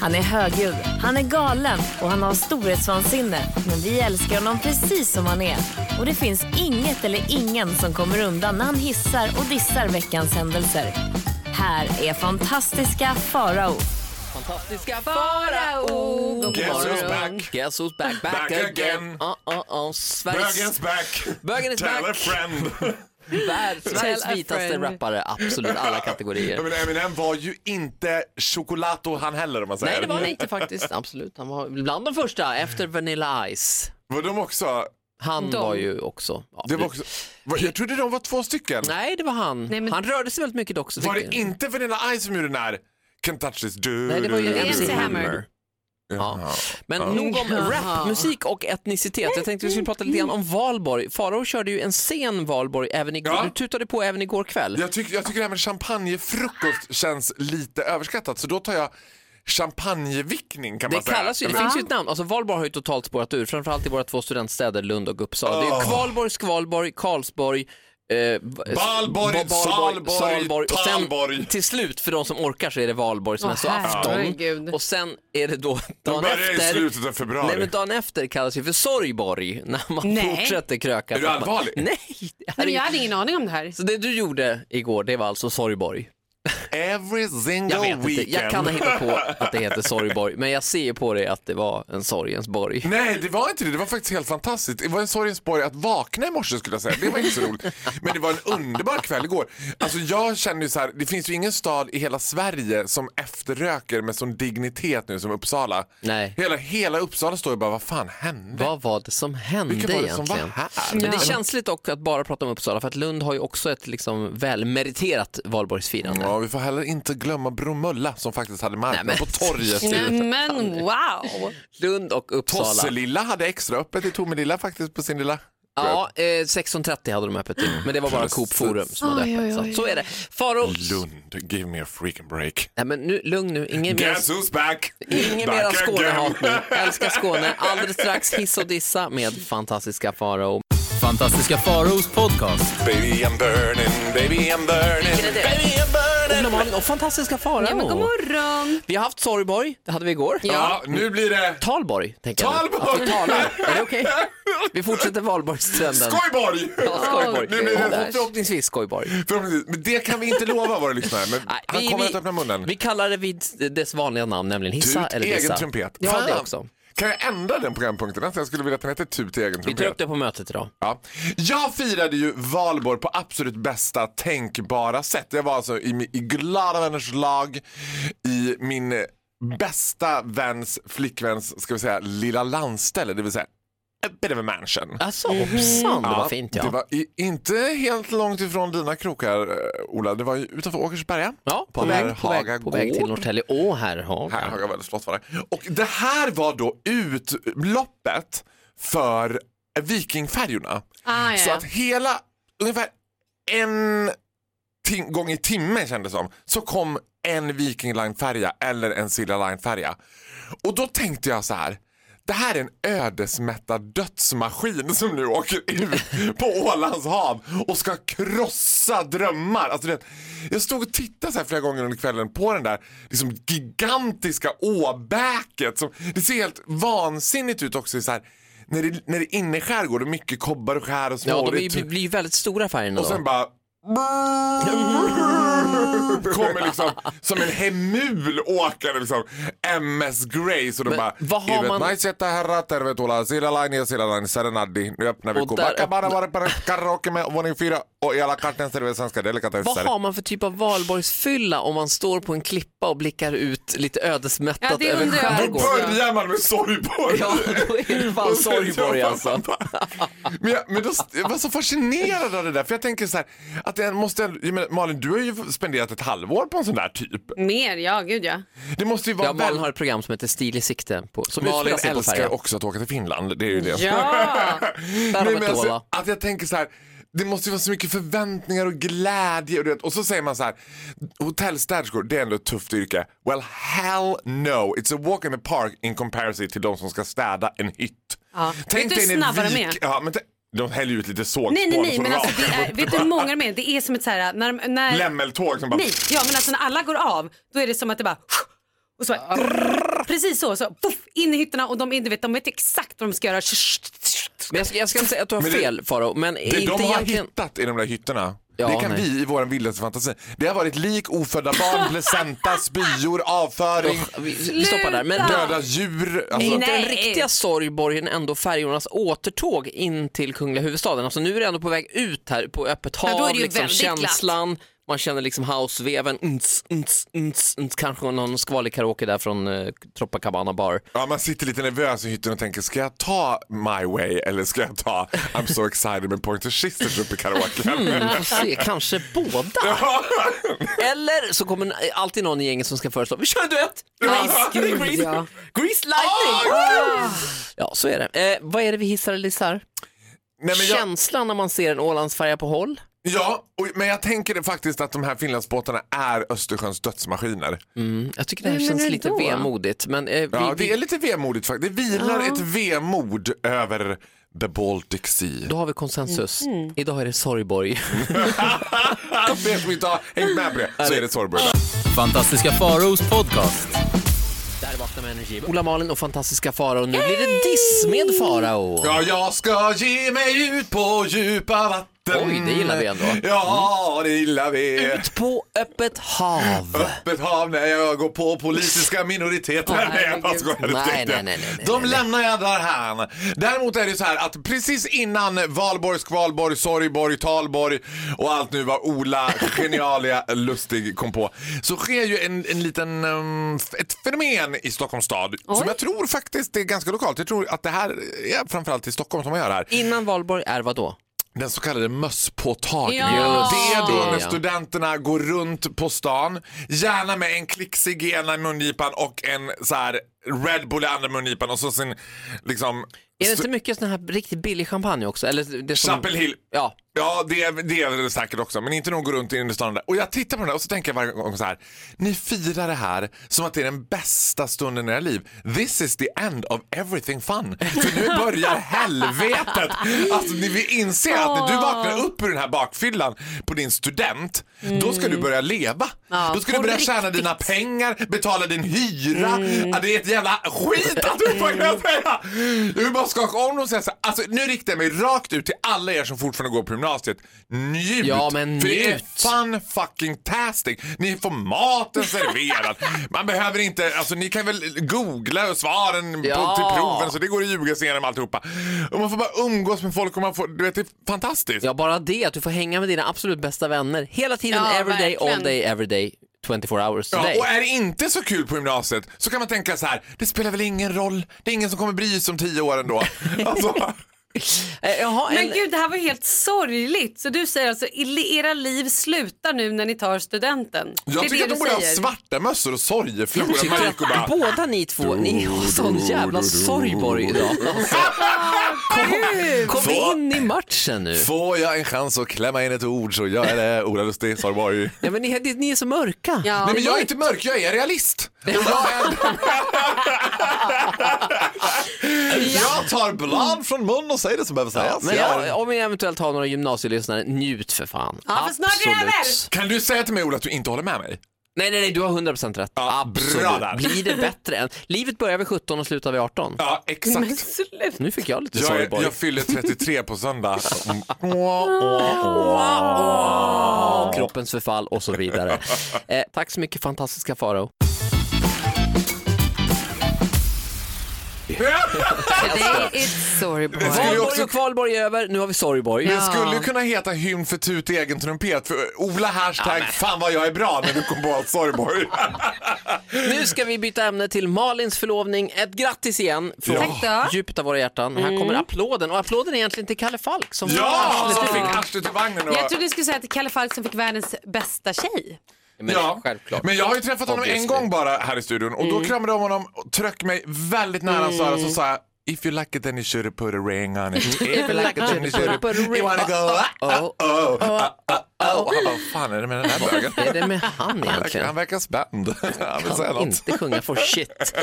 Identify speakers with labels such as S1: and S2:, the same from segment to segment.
S1: Han är högljudd, han är galen och han har storhetsvansinne. Men vi älskar honom precis som han är. Och det finns inget eller ingen som kommer undan när han hissar och dissar veckans händelser. Här är fantastiska Farao.
S2: Fantastiska Farao! God
S3: Guess
S2: morgon.
S3: who's back?
S2: Guess who's back, back,
S3: Back
S2: again!
S3: again.
S2: Oh, oh, oh. Sveriges,
S3: Bögen is back!
S2: Bögen is
S3: Tell a
S2: back.
S3: friend!
S2: vär- Sveriges
S4: Tell a
S2: vitaste
S4: friend.
S2: rappare, absolut alla
S3: Ja,
S2: kategorier.
S3: men Eminem var ju inte chocolato han heller om man säger.
S2: Nej,
S3: Mm.
S2: det var han inte faktiskt, absolut. Han var bland de första, efter Vanilla Ice.
S3: Var de också?
S2: Han
S4: De.
S2: var ju också... ja,
S3: Det var också... Vad- Jag trodde de var två stycken.
S2: Nej, det var han.
S4: Nej, men-
S2: Han rörde sig väldigt mycket också.
S3: Var
S2: tycker
S3: det inte Vanilla Ice som gjorde den här Can't touch this du
S2: jag. Nej, det var ju
S3: du-
S4: MC
S2: MC
S4: Hammer.
S2: Hammer. Ja. Men
S3: Ja.
S2: nog om
S4: Jaha.
S2: rap, musik och etnicitet. Jag tänkte vi skulle prata lite grann om valborg. Farao körde ju en sen valborg även igår.
S3: Ja.
S2: Du tutade på även igår kväll.
S3: Jag, tyck, jag tycker det här med champagnefrukost känns lite överskattat så då tar jag champagnevickning kan
S2: Det
S3: man säga.
S2: kallas ju, det
S3: Eller-
S2: finns ju ett namn. Alltså Valborg har ju totalt spårat ur, framförallt i våra två studentstäder Lund och Uppsala. Det är ju
S3: Åh.
S2: Kvalborg, Skvalborg, Karlsborg, eh,
S3: Balborg,
S2: Ba-
S3: Salborg,
S2: Och sen
S3: Talborg.
S2: till slut, för de som orkar, så är det Valborg som
S4: Åh,
S2: är så afton.
S4: herregud.
S2: Och sen är det då
S3: De
S2: dagen
S3: börjar i
S2: efter.
S3: slutet av
S2: Nej men
S3: februari.
S2: dagen efter kallas ju för sorgborg när man
S4: Nej.
S2: fortsätter kröka.
S3: Är du allvarlig?
S2: Nej! Det här
S4: Nej, men
S2: är...
S4: jag hade ingen aning om det här.
S2: Så det du gjorde igår, det var alltså sorgborg?
S3: Every single
S2: Jag vet inte,
S3: weekend.
S2: jag kan ha hittat på att det heter sorgborg, men jag ser ju på det att det var en sorgens borg.
S3: Nej, det var inte det. Det var faktiskt helt fantastiskt. Det var en sorgens borg att vakna i morse skulle jag säga. Det var inte så roligt. Men det var en underbar kväll igår. Alltså jag känner ju så här, det finns ju ingen stad i hela Sverige som efterröker med sån dignitet nu som Uppsala.
S2: Nej.
S3: Hela, hela Uppsala står ju bara, vad fan hände?
S2: Vad var det som hände
S3: Vilka var det som
S2: egentligen?
S3: var här?
S2: Men det
S4: Ja.
S2: är känsligt dock att bara prata om Uppsala för att Lund har ju också ett liksom välmeriterat valborgsfirande.
S3: Ja, vi får heller inte glömma Bromölla som faktiskt hade marknad
S2: Nej, men-
S3: på torget.
S4: Nej, men wow!
S2: Lund och Uppsala.
S3: Tosselilla hade extra öppet i Tomelilla faktiskt på sin lilla...
S2: Ja, eh, 16.30 hade de öppet till, men det var bara
S3: Mm. Precis.
S2: Coop Forum som hade
S4: Oj,
S2: öppet.
S4: oj,
S2: Så,
S4: oj.
S2: att- så är det. Faro,
S3: Lund, give me a freaking break.
S2: Nej, men nu, lugn nu, ingen mer,
S3: Guess who's back?
S2: ingen
S3: Back
S2: mera
S3: again.
S2: Skånehat nu. Älskar Skåne. Alldeles strax hiss och dissa med fantastiska Faro.
S5: Fantastiska Faraos podcast.
S3: Baby I'm burning, baby I'm burning,
S2: Vilken är det?
S3: baby I'm burning
S2: Ola Malin och fantastiska Faro.
S4: Ja, men god morgon!
S2: Vi har haft sorgborg, det hade vi igår.
S3: Ja, nu blir det
S2: Talborg, tänker jag. nu.
S3: Talborg!
S2: Att vi Alltså, talar. Är det okej? Vi fortsätter valborgstrenden.
S3: Skojborg!
S2: Ja, skojborg.
S3: Nu blir det-
S2: Och Förhoppningsvis skojborg.
S3: Förhoppningsvis. Men det kan vi inte lova våra lyssnare, men
S2: Nej,
S3: han
S2: vi-
S3: kommer
S2: vi-
S3: att öppna munnen.
S2: Vi kallar det vid dess vanliga namn, nämligen hissa
S3: Tut
S2: eller
S3: egen
S2: dissa.
S3: trumpet.
S2: Ja,
S3: Fan.
S2: det också.
S3: Kan jag ändra den programpunkten? Alltså, jag skulle vilja att den hette Tut i egen
S2: Vi tar upp
S3: trumpet.
S2: det på mötet idag.
S3: Ja. Jag firade ju valborg på absolut bästa tänkbara sätt. Jag var alltså i, mi- i glada vänners lag i min eh, bästa väns flickväns ska vi säga, lilla landställe, det vill säga a bit of a mansion.
S2: Alltså, hoppsan, det var fint ja.
S3: Det var i, inte helt långt ifrån dina krokar, eh, Ola. Det var ju utanför Åkersberga.
S2: Ja, på
S3: Där
S2: väg, på
S3: Haga
S2: väg, på väg till
S3: gård.
S2: Norrtälje. Åh, här har
S3: Här
S2: vi.
S3: har jag väl slått för det. Och det här var då utloppet för vikingfärjorna.
S4: Ah,
S3: Så
S4: ja.
S3: att hela, ungefär en tim- gång i timmen kändes det som, så kom en Viking Line-färja eller en Silja Line-färja. Och då tänkte jag så här, det här är en ödesmättad dödsmaskin som nu åker ut på Ålands hav och ska krossa drömmar. Alltså, du vet, jag stod och tittade så här flera gånger under kvällen på den där liksom, gigantiska åbäket. Som, det ser helt vansinnigt ut också. i Så här, när det, när det är inne i skärgården, mycket kobbar och skär och
S2: Ja, de
S3: småligt.
S2: är- blir ju väldigt stora färgerna
S3: typ- och
S2: då.
S3: sen bara... Kommer liksom som en hemul åkare liksom. MS Grace och de
S2: Men
S3: bara...
S2: vad har
S3: "Ivet
S2: man-
S3: Maisetta herra tervetuloa Silalaini Silalaini Serenadi. Nu öppnar vi
S2: Och
S3: Kuba.
S2: där
S3: Kan bara vara på karaoke med våning fyra och i alla kartens serverar svenska
S2: Vad
S3: delikatesser.
S2: har man för typ av valborgsfylla om man står på en klippa och blickar ut lite ödesmättat
S4: Ja, det
S2: över
S4: undrar jag.
S3: Då
S2: skärgården?
S3: börjar man med sorgborg.
S2: Ja, då är det fan
S3: Och sen
S2: sorgborg
S3: jobbar
S2: alltså.
S3: man bara. Men, jag, men då, jag var så fascinerad av det där, för jag tänker så här, att jag måste, ändå- jag menar, Malin du har ju spenderat ett halvår på en sån där typ.
S4: Mer, ja gud ja.
S3: Det måste ju vara
S2: Ja, Malin
S3: väl-
S2: har ett program som heter Stil i sikte, på, som
S3: Malin
S2: utspelar sig på
S3: älskar
S2: färjan.
S3: också att åka till Finland, det är ju det.
S4: Ja!
S2: har vi
S3: men
S2: ett
S3: alltså,
S2: Åla.
S3: att jag tänker så här, det måste ju vara så mycket förväntningar och glädje. Och, du vet, och så säger man så här, hotellstäderskor, det är ändå ett tufft yrke. Well, hell no. It's a walk in the park in comparison till de som ska städa en hytt.
S4: Ja. Vet du hur
S3: en
S4: snabba de är?
S3: Ja, men t- de häller ut lite sågspån
S4: Nej, nej, nej,
S3: som
S4: men alltså
S3: rakar
S4: det är,
S3: upp.
S4: vet du hur många de är? Det är som ett så här, när, de- när,
S3: Lämmeltåg som bara...
S4: nej, ja men alltså när alla går av, då är det som att det bara Och så bara,
S3: Ah.
S4: precis så, så puff, in i hytterna och de, är- du vet, de vet exakt vad de ska göra.
S2: Men jag ska, jag ska inte säga att du har
S3: Men det-
S2: fel Faro, men
S3: Det
S2: inte
S3: de har
S2: egentligen...
S3: hittat i de där hytterna,
S2: Ja,
S3: det kan
S2: nej.
S3: vi i vår vildaste fantasi. Det har varit lik, ofödda barn, placenta, spyor, avföring,
S2: Usch, vi, vi stoppar där. Men
S4: Sluta!
S3: döda djur. Alltså,
S2: Är inte den
S4: Nej.
S2: riktiga sorgborgen ändå färjornas återtåg in till kungliga huvudstaden? Alltså nu är det ändå på väg ut här på öppet
S4: Ja, då är
S2: hav,
S4: det ju
S2: liksom
S4: väldigt glatt.
S2: känslan, man känner liksom houseveven, nts, nts, nts, nts. kanske någon skvalig karaoke där från eh, Copacabana bar.
S3: ja, man sitter lite nervös i hytten och tänker, ska jag ta My Way eller ska jag ta I'm so excited med Pointer Sisters uppe i karaoken?
S2: Vi får se, kanske båda. Eller så kommer alltid någon i gänget som ska föreslå, vi kör en duett!
S3: Ja, Ah,
S2: Grease,
S4: gud,
S2: Grease-
S4: ja.
S2: Grease Lightning! Ah! Ja, så är det. Eh, vad är det vi hissar eller dissar?
S3: Nej, men jag,
S2: Känslan när man ser en Ålandsfärja på håll?
S3: ja, och, men jag tänker det faktiskt att de här Finlandsbåtarna är Östersjöns dödsmaskiner.
S2: Mm, Jag tycker det här
S4: Hur menar
S2: känns
S4: du
S2: lite
S4: då?
S2: vemodigt. Men, eh, vi,
S3: Ja, det
S2: vi,
S3: är lite vemodigt faktiskt. Det vilar ett vemod över the Baltic Sea.
S2: Då har vi konsensus.
S3: Mm.
S2: Idag är det sorgborg.
S3: För er Alltså, som inte har hängt med på det så är det sorgborg.
S5: Fantastiska Faraos podcast.
S2: Där vaknar med energi. Ola Malin och fantastiska Farao. Nu blir det diss med Farao.
S3: Ja, jag ska ge mig ut på djupa vatten.
S2: Oj, det gillar vi ändå. Mm.
S3: Ja, det gillar vi.
S2: Ut på öppet hav.
S3: Öppet hav när jag går på politiska minoriteter. nej, jag bara skojar.
S2: Nej, nej, nej, nej, nej,
S3: De
S2: nej.
S3: lämnar jag där här. Däremot är det så här att precis innan Valborg, Skvalborg, Sorgborg, Talborg och allt nu vad Ola genialia Lustig kom på så sker ju en, en liten, um, f- ett fenomen i Stockholms stad som jag tror faktiskt är ganska lokalt. Jag tror att det här är framförallt i Stockholm som man gör det här.
S2: Innan valborg är vad då?
S3: Den så kallade mösspåtagningen.
S4: Ja.
S3: Det är då
S2: Det,
S3: när
S2: ja.
S3: studenterna går runt på stan, gärna med en klick cigg i ena mungipan och en så här Red Bull i andra mungipan och så sin liksom...
S2: Är det
S3: stu-
S2: inte mycket sån här riktigt billig champagne också? Eller det som...
S3: Chapel Hill.
S2: Ja.
S3: Ja, det, är- det är det säkert också, men inte någon går runt i innerstan där. Och jag tittar på den där och så tänker jag varje gång så här. Ni firar det här som att det är den bästa stunden i era liv. This is the end of everything fun. För nu börjar helvetet. Alltså, ni vill inse att när du vaknar upp ur den här bakfyllan på din student, då ska du börja leva. då ska du
S4: på
S3: börja tjäna
S4: riktigt.
S3: dina pengar, betala din hyra.
S2: Mm.
S3: Ja, det är ett jävla skit att du får jag säga. Jag vill bara skaka om dem och säga så här. Alltså, nu riktar jag mig rakt ut till alla er som fortfarande går på gymnasiet. Njut!
S2: Ja, men
S3: För det är
S2: njut.
S3: fun fucking tastic. Ni får maten serverad. Man behöver inte, alltså ni kan väl googla och svaren
S2: Ja.
S3: på, till proven så det går att ljuga sig igenom alltihopa. Och man får bara umgås med folk och man får, du vet det är fantastiskt.
S2: ja, bara det att du får hänga med dina absolut bästa vänner hela tiden,
S4: Ja,
S2: every day, all
S4: verkligen.
S2: day, every day, 24 hours a
S3: Ja,
S2: day.
S3: och eh, är det inte så kul på gymnasiet så kan man tänka så här, det spelar väl ingen roll, det är ingen som kommer bry sig om tio år ändå. Alltså,
S2: Eh, jaha, en-
S4: Men gud, det här var ju helt sorgligt. Så du säger alltså, i- era liv slutar nu när ni tar studenten?
S3: Jag
S4: det är
S3: tycker
S4: det
S3: att de
S4: du
S3: borde ha
S4: säger.
S3: svarta mössor och sorgeflor.
S2: Jag
S3: när man
S2: tycker
S3: gick och
S2: att
S3: bara,
S2: båda ni två, ni har sån jävla sorgborg idag. Alltså, Kom
S3: Så-
S2: in i matchen nu.
S3: Får jag en chans att klämma in ett ord så gör jag det. Ola Lustig, Sorgborg.
S2: Ja, men ni, ni är så mörka.
S4: Ja.
S3: Nej men jag är inte mörk, jag är realist. Och Jag, är... jag tar blad från mun och säger det som behöver sägas.
S2: Men
S3: Jag-
S2: ja, om vi eventuellt har några gymnasielyssnare, njut för fan.
S4: Ja, för snart är det
S2: Absolut.
S4: över.
S3: Kan du säga till mig Ola att du inte håller med mig?
S2: Nej, nej, nej, du har 100% rätt.
S3: Ja,
S2: Absolut.
S3: bra där.
S2: Blir det bättre än... Livet börjar vid 17 och slutar vid 18.
S3: Ja,
S4: Men
S3: exakt.
S4: sluta.
S2: Nu fick jag lite
S3: Jag, är-
S2: sorgborg.
S3: jag fyller 33 på söndag. Mm. Åh, åh, åh.
S2: Ja, Kroppens förfall och så vidare. eh, tack så mycket fantastiska Farao.
S4: Today it's sorgborg.
S3: Det skulle ju
S2: Valborg
S3: också
S2: och kvalborg är över, nu har vi sorgborg.
S3: Det skulle ju kunna heta hymn för tut i egen trumpet för Ola hashtag fan vad jag är bra när du kom på Sorgborg.
S2: Nu ska vi byta ämne till Malins förlovning. Ett grattis igen från
S4: Tack då.
S2: djupet av våra hjärtan. Här kommer applåden och applåden är egentligen till Kalle Falk som
S3: Mm. ja,
S2: Arslet
S3: som
S2: ut.
S3: fick arslet ur vagnen. Och...
S4: Jag trodde du skulle säga att Kalle Falk som fick världens bästa tjej.
S2: Men
S3: ja.
S2: självklart.
S3: Men jag har ju träffat honom en
S2: Obviously.
S3: Mm. gång bara här i studion och då kramade jag om honom och tryckte mig väldigt nära hans öra så sa jag If you like it then you should put a ring on it. Mm. If you like it then you should
S2: Put a ring
S3: You wanna go
S2: Oh.
S3: oh, oh, oh, oh. Och han bara, fan är det med den här bögen?
S2: Vad är det med han
S3: Han verkar- Han
S2: egentligen?
S3: verkar spänd. Han vill säga
S2: Kan
S3: något.
S2: inte sjunga for shit.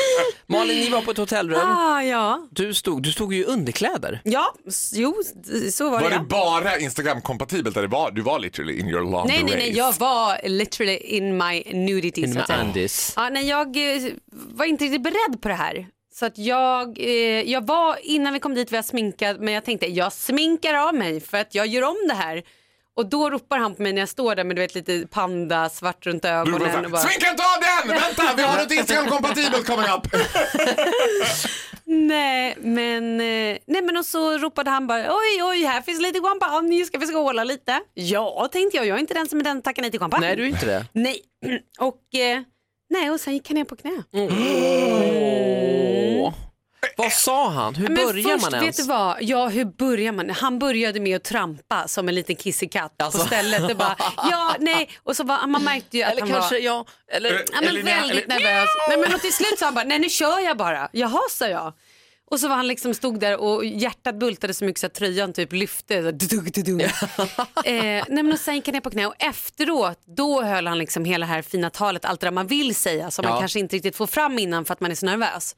S2: Malin, ni var på ett hotellrum.
S4: Ah, ja.
S2: Du stod, du stod ju i underkläder.
S4: Ja, s- jo, s- så var,
S3: Var
S4: det.
S3: det
S4: ja.
S3: bara Instagram-kompatibelt? eller var- Du var literally in your lingerie.
S4: Nej, nej, nej, jag var literally in my nudity.
S2: In
S4: så
S2: my
S4: att säga.
S2: undies.
S4: Ja, nej, jag eh, var inte riktigt beredd på det här. Så att jag, eh, jag var, innan vi kom dit var jag sminkad, men jag tänkte jag sminkar av mig för att jag gör om det här. Och då ropar han på mig när jag står där med du vet lite panda, svart runt
S3: Du bara, så
S4: ögonen.
S3: här,
S4: Och bara,
S3: Sminka inte av den! Vänta, vi har något Instagram-kompatibelt coming up.
S4: nej, men, eh, nej, men och så ropade han bara oj, oj, här finns lite champagne, ska vi skåla lite? Ja, tänkte jag, jag är inte den som är den som tackar nej till
S3: Ah.
S4: champagne.
S2: Nej, du är inte det.
S4: Nej, och, eh, nej, och sen gick han ner på knä.
S2: Mm, Åh. Vad sa han? Hur
S4: Men
S2: börjar
S4: först,
S2: man ens?
S4: Vet du vad? Ja, hur börjar man? Han började med att trampa som en liten kissekatt
S2: Alltså.
S4: på stället. Och bara, ja, nej. Och så var, man märkte ju att
S2: Eller
S4: han
S2: kanske,
S4: var
S2: ja. Eller,
S4: ja, men
S2: eller-
S4: väldigt
S2: eller-
S4: nervös. Nej, men och till slut sa han bara, nej nu kör jag bara. Jaha, sa jag. Och så var han liksom stod där och hjärtat bultade så mycket så att tröjan typ lyfte. Så, dudung, dudung. eh, nej, men och sen gick han ner på knä och efteråt då höll han liksom hela det här fina talet, allt det där man vill säga som
S2: Ja.
S4: man kanske inte riktigt får fram innan för att man är så nervös.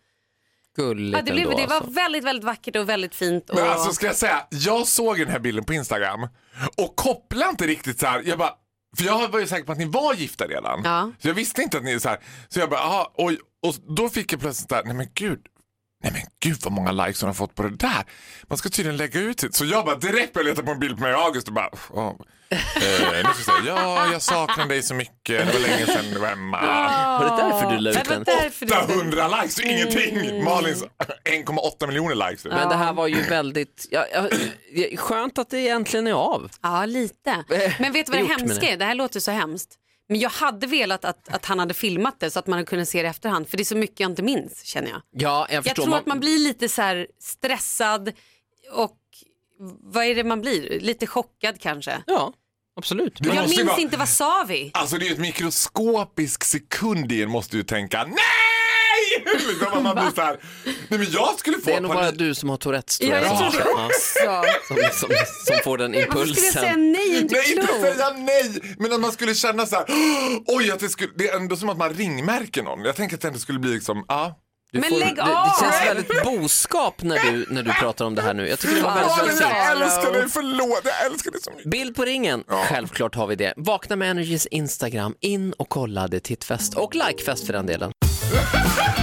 S2: Gulligt
S4: Ja, det, blev,
S2: ändå,
S4: det var
S2: alltså.
S4: väldigt, väldigt vackert och väldigt fint. Och...
S3: Men alltså ska jag säga, jag såg den här bilden på Instagram och kopplade inte riktigt så här. Jag bara, för jag var ju säker på att ni var gifta redan.
S4: Ja.
S3: Så jag visste inte att ni är så här. Så jag bara, aha, oj. Och då fick jag plötsligt där, nej men gud. Nej men gud vad många likes hon har fått på det där. Man ska tydligen lägga ut det. Så jag bara direkt började leta på en bild på mig och August och bara, åh. Eh, nu ska jag säga, ja jag saknar dig så mycket. Det var länge sedan du var hemma.
S2: Var det därför du la ut
S4: det Mm.
S2: den?
S4: var därför du...
S3: 800 likes, det är ingenting. Malins eh, 1,8 miljoner likes.
S2: Men det här var ju väldigt, ja, ja, skönt att det egentligen är av.
S4: Ja, lite. Men vet du vad det
S2: gjort, menar
S4: hemska är? Det här låter så hemskt. Men jag hade velat att, att han hade filmat det så att man hade kunnat se det i efterhand. För det är så mycket jag inte minns känner jag.
S2: Ja, jag
S4: Jag
S2: förstår.
S4: tror att man blir lite så här stressad och vad är det man blir? Lite chockad kanske.
S2: Ja, absolut.
S3: Det
S4: Jag
S3: måste ju
S4: minns
S3: vara-
S4: inte, vad sa vi?
S3: Alltså det är ju ett mikroskopisk sekund i en måste du tänka nej! Liksom man blir så här, nej men jag skulle få
S2: Det är nog bara
S3: panik.
S2: du som har Tourettes
S4: Ja, jag tror det
S2: Ja,
S4: också.
S2: som, som, som får den
S4: Varför skulle jag säga
S2: impulsen.
S4: nej? Jag är Inte
S3: Nej, inte
S4: klok.
S3: säga nej! Men att man skulle känna så här, oj, att det, skulle, det är ändå som att man ringmärker någon. Jag tänker att det ändå skulle bli liksom, ja.
S2: Du
S4: Men
S2: får,
S4: lägg
S2: det,
S4: av!
S2: det känns väldigt boskap när du, när du pratar om det här nu. Jag tycker det var väldigt,
S3: Malin,
S2: väldigt fint.
S3: alltså, jag älskar dig, förlåt, jag älskar dig så mycket.
S2: Bild på ringen, självklart har vi det. Vakna med Energys Instagram, in och kolla det är tittfest och likefest för den delen.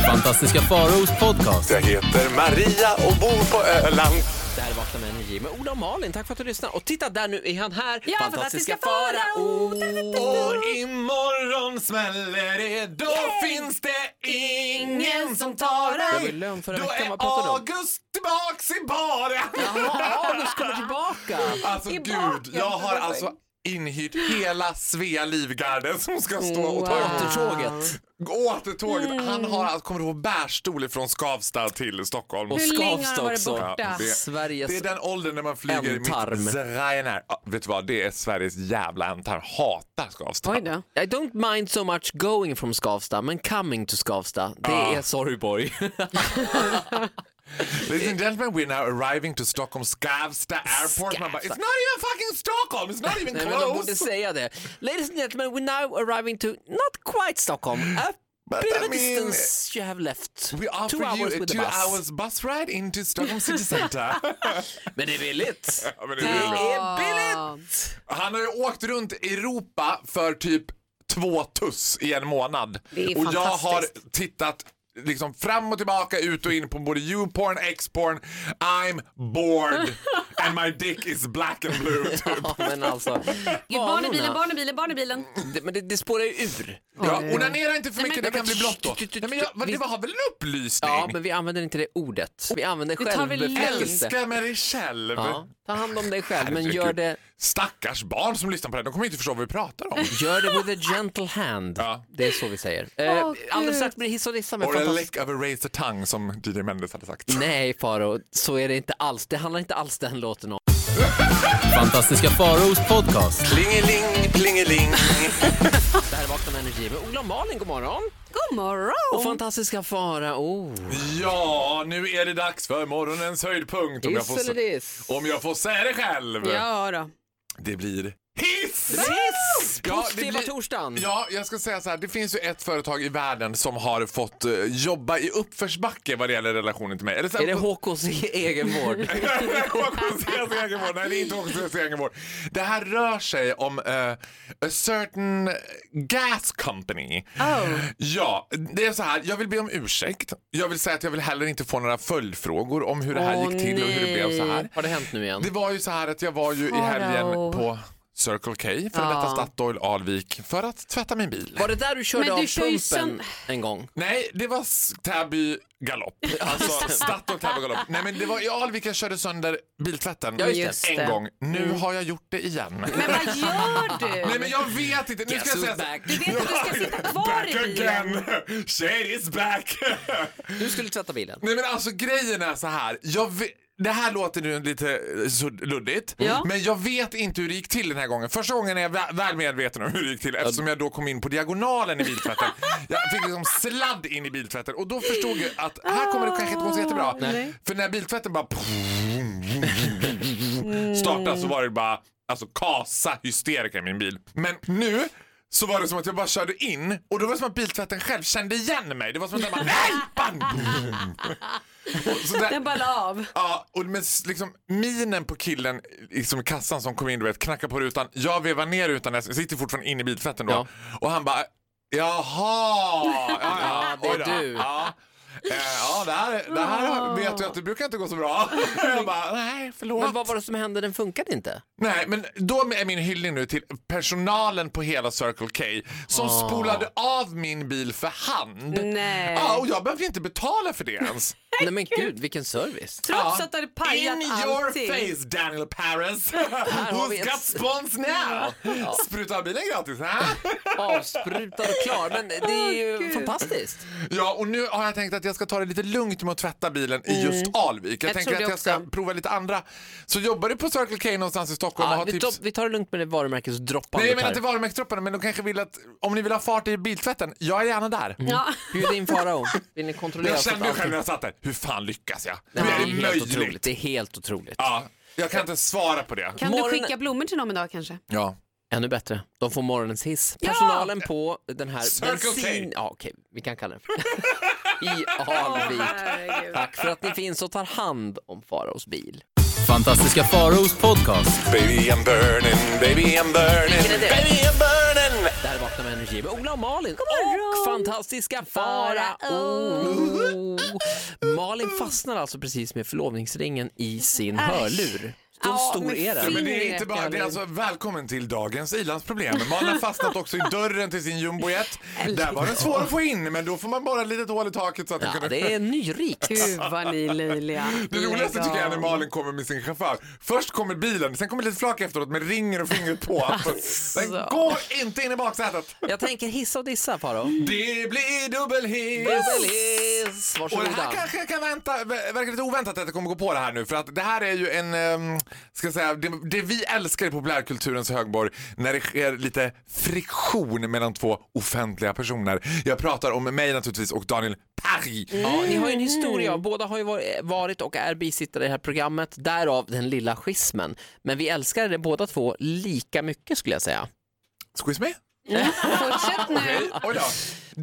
S5: Fantastiska Faraos podcast.
S3: Jag heter Maria och bor på Öland.
S2: Det här är Vakna med Energy med Ola och Malin, tack för att du lyssnar. Och titta där nu är han här,
S4: Ja, fantastiska Farao.
S3: Och imorgon smäller det, då finns det ingen som tar dig.
S2: Jag var i lön förra
S3: då
S2: veckan,
S3: är
S2: vad pratade du om?
S3: August tillbaks i baren.
S2: Ja, August kommer tillbaka!
S3: Alltså gud, jag har alltså inhyrt hela Svea Livgarde som ska stå och ta emot
S2: Återtåget.
S3: återtåget.
S2: Mm.
S3: Han har, alltså, kommer du ihåg, bärstol från Skavsta till Stockholm.
S2: Och
S4: Hur länge har
S2: Skavsta
S4: han varit
S2: också.
S4: borta?
S3: Ja, det,
S2: Sveriges...
S3: det är den åldern när man flyger i
S2: Ändtarm.
S3: mitt Ryanair. Ja, vet du vad, det är Sveriges jävla ändtarm. Hatar Skavsta.
S4: Oj då.
S2: I don't mind so much going from Skavsta, men coming to Skavsta, det är sorgborg.
S3: Ladies and gentlemen, we're now arriving to Stockholm Skavsta Airport. Man bara, it's not even fucking Stockholm, it's not even
S2: Nej, men de borde
S3: close.
S2: säga det. Ladies and gentlemen, we're now arriving to not quite Stockholm, a
S3: But
S2: bit of
S3: I
S2: a
S3: mean,
S2: distance you have left.
S3: We offer
S2: two hours
S3: you a
S2: with the
S3: two
S2: bus.
S3: hours bus ride into Stockholm city center.
S2: Men det är billigt.
S3: Ja, men det är billigt.
S2: Det är billigt!
S3: Han har ju åkt runt i Europa för typ två tuss i en månad.
S4: Det är
S3: och jag har
S4: fantastiskt.
S3: tittat liksom fram och tillbaka, ut och in på både U-porn, X-porn. I'm bored and my dick is black and blue. Typ.
S2: Ja, men alltså.
S4: Gud, barn i bilen,
S2: Vanorna.
S4: barn i bilen, barn i bilen.
S2: Det, men det, det spårar ju ur.
S3: Ja, onanera inte för mycket,
S4: men-
S3: det kan bli blått då.
S2: Tut, tut, tut,
S3: Nej, men jag,
S2: vi-
S3: det var väl en upplysning?
S2: Ja, men vi använder inte det ordet. Vi använder
S4: Vi tar väl
S2: självbefrämjelse.
S3: Älska med dig själv.
S2: Ja, ta hand om dig själv, men
S3: Herregud.
S2: gör det,
S3: Stackars barn som lyssnar på det här, de kommer inte förstå vad vi pratar om.
S2: gör det with a gentle hand.
S3: Ja.
S2: Det är så vi säger. Eh,
S4: Åh,
S2: alldeles
S4: Gud.
S2: strax blir det hiss och dissa med
S3: Or a
S2: fantastisk...
S3: lick of a razor tongue som DJ Mendes hade sagt.
S2: Nej Faro, så är det inte alls. Det handlar inte alls den låten om.
S5: Fantastiska Faraos podcast.
S6: Plingeling, plingeling.
S2: Det här är Vakna med energi med Ola och Malin, god morgon.
S4: God
S2: Och
S4: morgon!
S2: fantastiska Farao. Oh.
S3: Ja, nu är det dags för morgonens höjdpunkt. Om jag får,
S2: Hiss eller diss?
S3: om jag får säga det själv.
S4: Ja då.
S3: Det blir hiss!
S2: Hiss!
S3: Ja, det
S2: Positiva
S3: blir-
S2: torsdagen.
S3: Ja, jag ska säga så här. Det finns ju ett företag i världen som har fått eh, jobba i uppförsbacke vad det gäller relationen till mig. Eller så här-
S2: Är det e- HKs egenvård?
S3: Håkonsens egenvård. Nej, det är inte Håkonsens egenvård. Det här rör sig om eh, a certain gas company.
S2: Ah.
S3: Ja, det är så här. Jag vill be om ursäkt. Jag vill säga att jag vill heller inte få några följdfrågor om hur det här
S4: Åh,
S3: gick till och hur det blev så här.
S2: Har det hänt nu igen?
S3: Det var ju så här att jag var ju i helgen
S4: Farao.
S3: på Circle K, för detta Statoil Alvik, för att tvätta min bil.
S2: Var det där du körde
S4: Men du
S2: av
S4: kör ju
S2: pumpen
S4: sönd-
S2: en gång?
S3: Nej, det var s- Täby galopp. Alltså Statoil Täby galopp. Nej, men det var i Alvik jag körde sönder biltvätten
S2: Ja, just det.
S4: Just
S3: en
S4: det. Mm.
S3: gång. Nu har jag gjort det igen.
S4: Men vad gör du?
S3: Nej, men jag vet inte. Nu
S2: Guess
S3: ska
S2: who's
S3: jag säga så-
S2: back?
S4: Du vet att du ska sitta kvar
S3: Back
S4: i bilen.
S3: again! Shit is back!
S2: Du skulle tvätta bilen.
S3: Nej men alltså grejen är så här. Jag vet, det här låter nu lite eh, sudd- luddigt,
S4: Ja.
S3: men jag vet inte hur det gick till den här gången. Första gången är jag vä- väl medveten om hur det gick till eftersom jag då kom in på diagonalen i biltvätten. jag fick liksom sladd in i biltvätten och då förstod jag att här kommer det kanske inte gå så jättebra.
S4: Nej.
S3: För när biltvätten bara startade så var det bara alltså kasa hysteriker i min bil. Men nu så var det som att jag bara körde in och då var det som att biltvätten själv kände igen mig. Det var som att den bara nej! Bang! Och så där-
S4: Den bara la av.
S3: Ja, och med s- liksom, minen på killen liksom, i kassan som kom in, du vet, knackade på rutan. Jag vevar ner rutan, jag sitter fortfarande inne i biltvätten då.
S2: Ja.
S3: Och han bara, jaha! Ja, ja,
S2: det är
S3: oj då,
S2: du.
S3: Ja. Eh, Ja, det här, det här vet jag att det brukar inte gå så bra. Jag bara, nej, förlåt.
S2: Men vad var det som hände? Den funkade inte.
S3: Nej, men då är min hyllning nu till personalen på hela Circle K som spolade av min bil för hand.
S4: Nej.
S3: Ja, och jag behövde inte betala för det ens.
S2: Nej men gud, vilken service.
S4: Trots
S3: Ja.
S4: att du hade pajat
S3: In
S4: allting.
S3: your face Daniel Paris!
S2: har vi
S3: Who's
S2: ett-
S3: got spons now? Spruta bilen gratis, ha?
S2: Avsprutad och klar. Men det är ju
S4: Gud.
S2: fantastiskt.
S3: Ja, och nu har jag tänkt att jag ska ta det lite lugnt med att tvätta bilen i just Alvik. Jag,
S4: Jag
S3: tänker
S4: tror det
S3: att jag ska
S4: också.
S3: prova lite andra. Så jobbar du på Circle K någonstans i Stockholm och
S2: Ja,
S3: har
S2: vi,
S3: tips?
S2: tar, vi tar det lugnt med det varumärkesdroppandet
S3: typ Nej, jag menar
S2: här.
S3: inte varumärkesdropparna, men de kanske vill att om ni vill ha fart i biltvätten, jag är gärna där.
S4: Ja.
S2: Bjud in Farao. Vill ni kontrollera
S3: Jag
S2: så att
S3: kände ju
S2: allt-
S3: själv när jag satt där, hur fan lyckas jag?
S2: Nej,
S3: Hur
S2: men
S3: är
S2: det
S3: det
S2: är helt otroligt.
S3: möjligt?
S2: Det är helt otroligt.
S3: Ja, jag kan inte svara på det.
S4: Kan
S2: Morgonen-
S4: du skicka blommor till någon idag kanske?
S3: Ja.
S2: Ännu bättre. De får morgonens hiss. Personalen på den här
S3: Circle K.
S2: bensin... Ja, okej. Vi kan kalla den för I Alvik.
S4: Herregud.
S2: Tack för att ni finns och tar hand om Faraos bil.
S5: Fantastiska Faraos podcast.
S3: Baby I'm burning, baby I'm burning,
S2: Vilken är det?
S3: baby I'm burning
S2: Där vaknar med energi med Ola och Malin
S4: morgon!
S2: och fantastiska Farao. Malin fastnar alltså precis med förlovningsringen i sin hörlur. Så
S4: Ja,
S2: stor
S4: men
S2: är
S3: Nej,
S2: den.
S3: men det är
S4: Fingret,
S3: inte bara, det är
S4: Karin.
S3: alltså välkommen till dagens ilandsproblem. Malin har fastnat också i dörren till sin jumbojet. Där var den svår att få in, men då får man bara ett litet hål i taket så att den
S2: Ja,
S3: kunde...
S2: det är nyrikt.
S4: Gud vad ni är löjliga.
S3: Det roligaste tycker jag är när Malin kommer med sin chaufför. Först kommer bilen, sen kommer lite flak efteråt med ringer och fingret på. Alltså, Den går inte in i baksätet.
S2: Jag tänker hissa och dissa Farao.
S3: Det blir dubbelhiss!
S2: Dubbelhiss!
S3: Och det
S2: Varsågoda.
S3: här kanske kan vänta, verkar lite oväntat att jag kommer gå på det här nu för att det här är ju en, ehm, ska jag säga, det, det vi älskar i populärkulturens högborg när det sker lite friktion mellan två offentliga personer. Jag pratar om mig naturligtvis och Daniel Parry.
S2: Ja, ni har ju en historia, båda har ju var- varit och är bisittare i det här programmet, därav den lilla schismen. Men vi älskar det båda två lika mycket skulle jag säga.
S3: Squeeze me?
S4: Fortsätt nu.
S3: Oj då.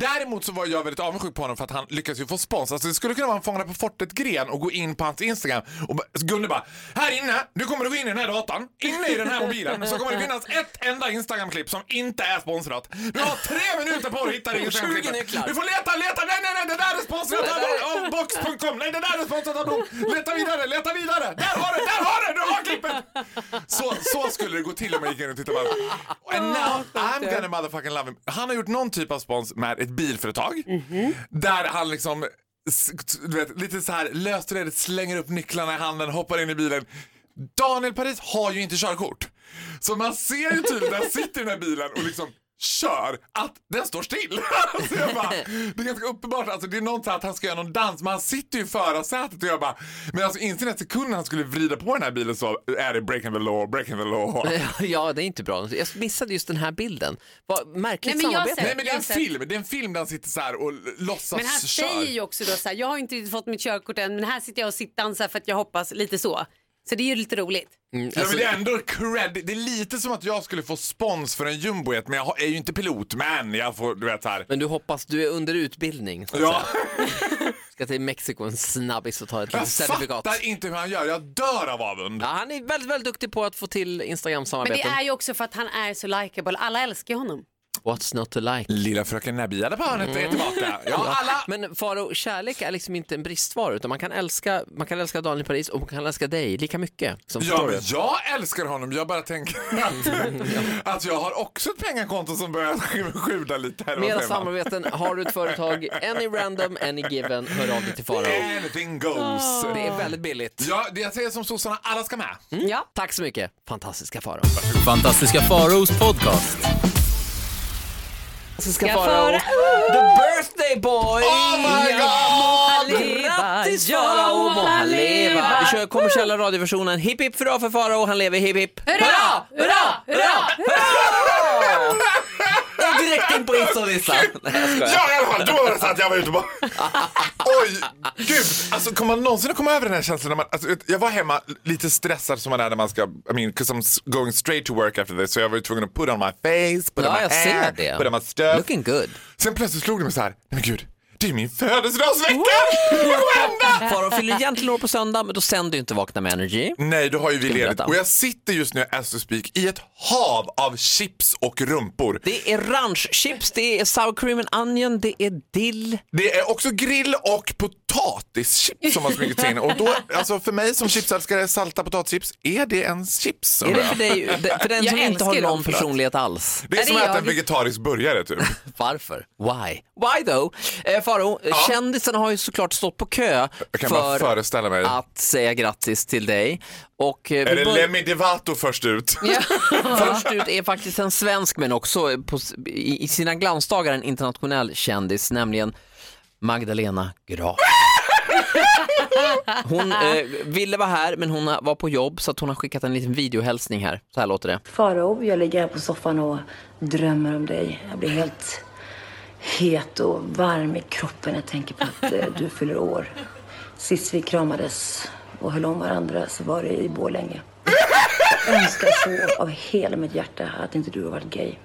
S3: Däremot så var jag väldigt avundsjuk på honom för att han lyckades ju få spons. Alltså det skulle kunna vara en Fångarna på fortet-gren och gå in på hans Instagram och bara- Gunde bara “Här inne, nu kommer du gå in i den här datan, inne i den här mobilen, så kommer det finnas ett enda Instagram-klipp som inte är sponsrat. Du har tre minuter på dig att hitta det
S2: 20
S3: Instagram-klippet.
S2: nycklar.
S3: Du får leta, leta, nej, nej, nej, det där är sponsrat av- av box.com, nej, det där är sponsrat av Blom. Leta vidare, leta vidare, där har du, där har du, du har klippet!” Så, så skulle det gå till om jag gick in och tittade på honom. And now I'm gonna motherfucking love him. Han har gjort någon typ av spons med ett bilföretag där han liksom s- t- du vet, lite så här löst och redigt slänger upp nycklarna i handen, hoppar in i bilen. typ, Daniel Paris har ju inte körkort. Så man ser ju tydligt, han sitter i den här bilen och liksom kör att den står still. så jag bara, det är ganska uppenbart, alltså, det är någon så här att han ska göra någon dans men han sitter ju i förarsätet och jag bara, men alltså inser den sekunden han skulle vrida på den här bilen så är det breaking the law, breaking the law.
S2: Ja, det är inte bra. Jag missade just den här bilden. Vad märkligt
S6: Nej, men jag
S2: samarbete.
S6: ser-
S3: Nej men det är
S6: Jag har
S3: en
S6: sett-
S3: film, det är en film där han sitter så här och l- låtsas
S4: Men han
S3: kör.
S4: säger ju också då så här, jag har inte fått mitt körkort än men här sitter jag och sittdansar för att jag hoppas lite så. Så det är ju lite roligt.
S2: Mm,
S3: Ja,
S2: alltså-
S3: men det är ändå cred. Det är lite som att jag skulle få spons för en jumbojet men jag har- är ju inte pilot men jag får du vet så här.
S2: Men du hoppas, du är under utbildning. Så att
S3: Ja,
S2: säga. Ska till Mexiko en snabbis och ta ett
S3: jag
S2: litet certifikat.
S3: fattar inte hur han gör, jag dör av avund.
S2: Ja, han är väldigt, väldigt duktig på att få till
S4: Men det
S2: Instagram-samarbeten.
S4: är ju också för att han är så likeable. Alla älskar ju honom.
S2: What's not to like?
S3: Lilla fröken Nabia där på hörnet är tillbaka. Mm. Ja, alla.
S2: Men Faro, kärlek är liksom inte en bristvara utan man kan älska, man kan älska Daniel Paris och man kan älska dig lika mycket. Som
S3: Ja,
S2: förstår
S3: men
S2: du.
S3: jag älskar honom, jag bara tänker att, att jag har också ett pengakonto som börjar sjuda lite här.
S2: Mera
S3: Vad säger man?
S2: samarbeten, har du ett företag, any random, any given, hör av dig till Faro.
S3: Anything goes.
S2: Det är väldigt billigt. Mm.
S3: Ja, det jag säger som sossarna, alla ska med.
S4: Ja.
S2: Tack så mycket, fantastiska Faro.
S5: Fantastiska Faraos podcast.
S2: Fantastiska
S4: Ska
S2: Faro.
S4: Farao.
S2: The birthday boy!
S3: Oh my god!
S2: Grattis
S4: Ja,
S2: Farao, må han leva!
S4: leva.
S2: Vi kör kommersiella radioversionen. Hipp hipp hurra för Farao, han lever hipp hipp.
S4: Hurra, hurra, hurra!
S2: Och direkt in på instolistan. Nej jag skojar.
S3: Ja, i alla fall. Då var det så att jag var ute och bara... Oj, gud. Alltså, kommer man någonsin att komma över den här känslan? När man, alltså, jag var hemma lite stressad som man är när man ska... I mean, 'cause I'm s- going straight to work after this. Så jag var ju tvungen att put on my face, put on
S2: Ja,
S3: my
S2: jag ser
S3: hair,
S2: det.
S3: put on my stuff.
S2: Looking good.
S3: Sen plötsligt slog det mig så här, nej men gud, det är min födelsedagsvecka! Vad kommer hända?
S2: Farao fyller egentligen år på söndag, men då sänder du inte Vakna med Energy.
S3: Nej, då har ju vi ledigt.
S2: berätta.
S3: Och jag sitter just nu, as we speak, i ett hav av chips och rumpor.
S2: Det är ranchchips, det är sour cream and onion, det är dill.
S3: Det är också grill och potatischips som har smugit sig in. Och då, alltså för mig som chipsälskare, salta potatischips, är det en chips?
S2: Är
S3: undrar
S2: det
S3: jag?
S2: för dig, för den
S4: Jag
S2: som inte
S4: älskar
S2: har
S4: ju
S2: någon
S4: dem, förlåt.
S2: personlighet alls?
S3: Det är
S4: Ja,
S3: som
S4: det
S3: att
S4: är
S3: äta
S4: jag.
S3: en vegetarisk burgare typ.
S2: Varför? Why? Why though? Eh, Faro, kändisarna har ju såklart stått på kö
S3: Jag kan bara
S2: för
S3: föreställa mig.
S2: att säga grattis till dig. Och eh,
S3: Är
S2: vi
S3: det
S2: börjar-
S3: Lemmy Devato först ut?
S2: först ut är faktiskt en svensk men också eh, på, s- i, i sina glansdagar en internationell kändis, nämligen Magdalena Graf. Hon eh, ville vara här men hon var på jobb så att hon har skickat en liten videohälsning här. Så här låter det.
S7: Faro, jag ligger här på soffan och drömmer om dig. Jag blir helt het och varm i kroppen när jag tänker på att eh, du fyller år. Sist vi kramades och höll om varandra så var det i Borlänge. Jag önskar så av hela mitt hjärta att inte du har varit gay.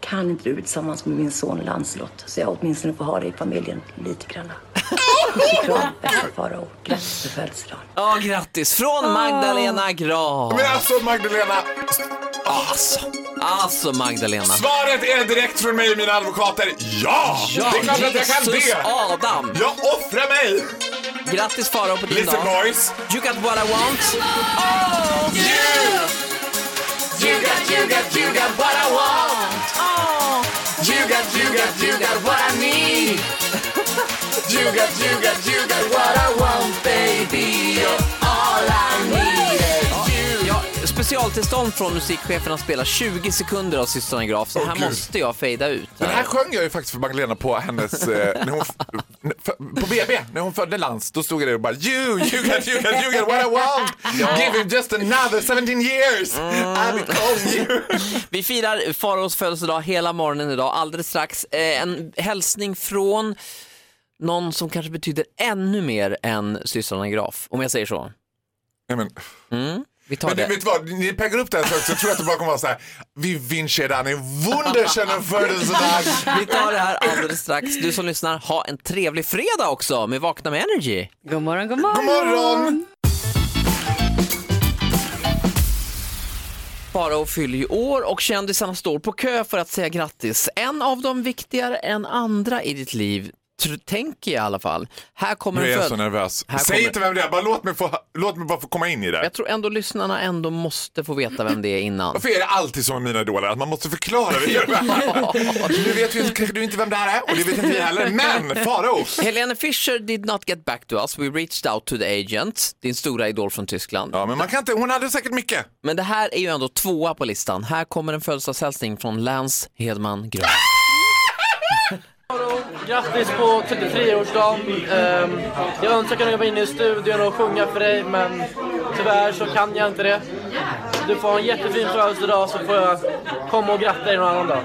S7: Kan inte du bli tillsammans med min son Lancelot så jag åtminstone får ha dig i familjen lite grann. Puss och kram, bästa Faro. Grattis på födelsedagen.
S2: Ja, grattis från Magdalena Graf.
S3: Ah. Men alltså Magdalena,
S2: Alltså, alltså Magdalena.
S3: svaret är direkt från mig och mina advokater. Ja!
S2: Ja,
S3: det är klart att jag kan
S2: Jesus
S3: det!
S2: Adam!
S3: Jag offrar mig!
S2: Grattis Farao på din dag.
S3: Listen boys!
S2: You got what I want.
S3: You got, you got, you got what I want You got, you got, you got what I need You got, you got, you got what I want baby
S2: Ja, specialtillstånd från musikcheferna spelar 20 sekunder av systrarna Graf, så
S3: Åh,
S2: här
S3: Gud.
S2: måste jag fejda ut.
S3: Den här sjöng jag ju faktiskt för Magdalena på hennes, eh, när hon, f- på BB, när hon födde Lantz, då stod jag där och bara You, you got, you got, you got what I want Give him just another 17 years I become you
S2: Vi firar Faraos födelsedag hela morgonen idag, alldeles strax. Eh, en hälsning från någon som kanske betyder ännu mer än systrarna Graf, om jag säger så.
S3: Nej, men,
S2: Vi tar
S3: men ni
S2: det.
S3: vet vad, ni peggar upp det här så högt, så jag tror att det bara kommer vara så här Vi vinner den i wunderschönen födelsedag
S2: Vi tar det här alldeles strax. Du som lyssnar, ha en trevlig fredag också med Vakna med Energy.
S4: God morgon, god morgon.
S3: God morgon!
S2: Farao fyller ju år och kändisarna står på kö för att säga grattis. En av dem viktigare än andra i ditt liv tr- tänker jag i alla fall. Här kommer
S3: Nu
S2: en
S3: är jag
S2: föd-
S3: så nervös.
S2: Här
S3: Säg
S2: kommer-
S3: inte vem det är, bara låt mig, få, låt mig bara få komma in i det.
S2: Jag tror ändå lyssnarna ändå måste få veta vem det är innan.
S3: Varför är det alltid så med mina idoler att man måste förklara? Det nu vet ju inte- kanske du inte vem det här är och det vet inte vi heller, men Farao.
S2: Helene Fischer did not get back to us. We reached out to the agent, din stora idol från Tyskland.
S3: Ja, men man kan inte, hon hade säkert mycket.
S2: Men det här är ju ändå tvåa på listan. Här kommer en födelsedagshälsning från Lance Hedman Grön.
S6: Grattis på 33-årsdagen. Ehm, jag önskar att jag kunde vara inne i studion och sjunga för dig men tyvärr så kan jag inte det. Du får ha en jättefin födelsedag så får jag komma och gratta dig någon annan dag.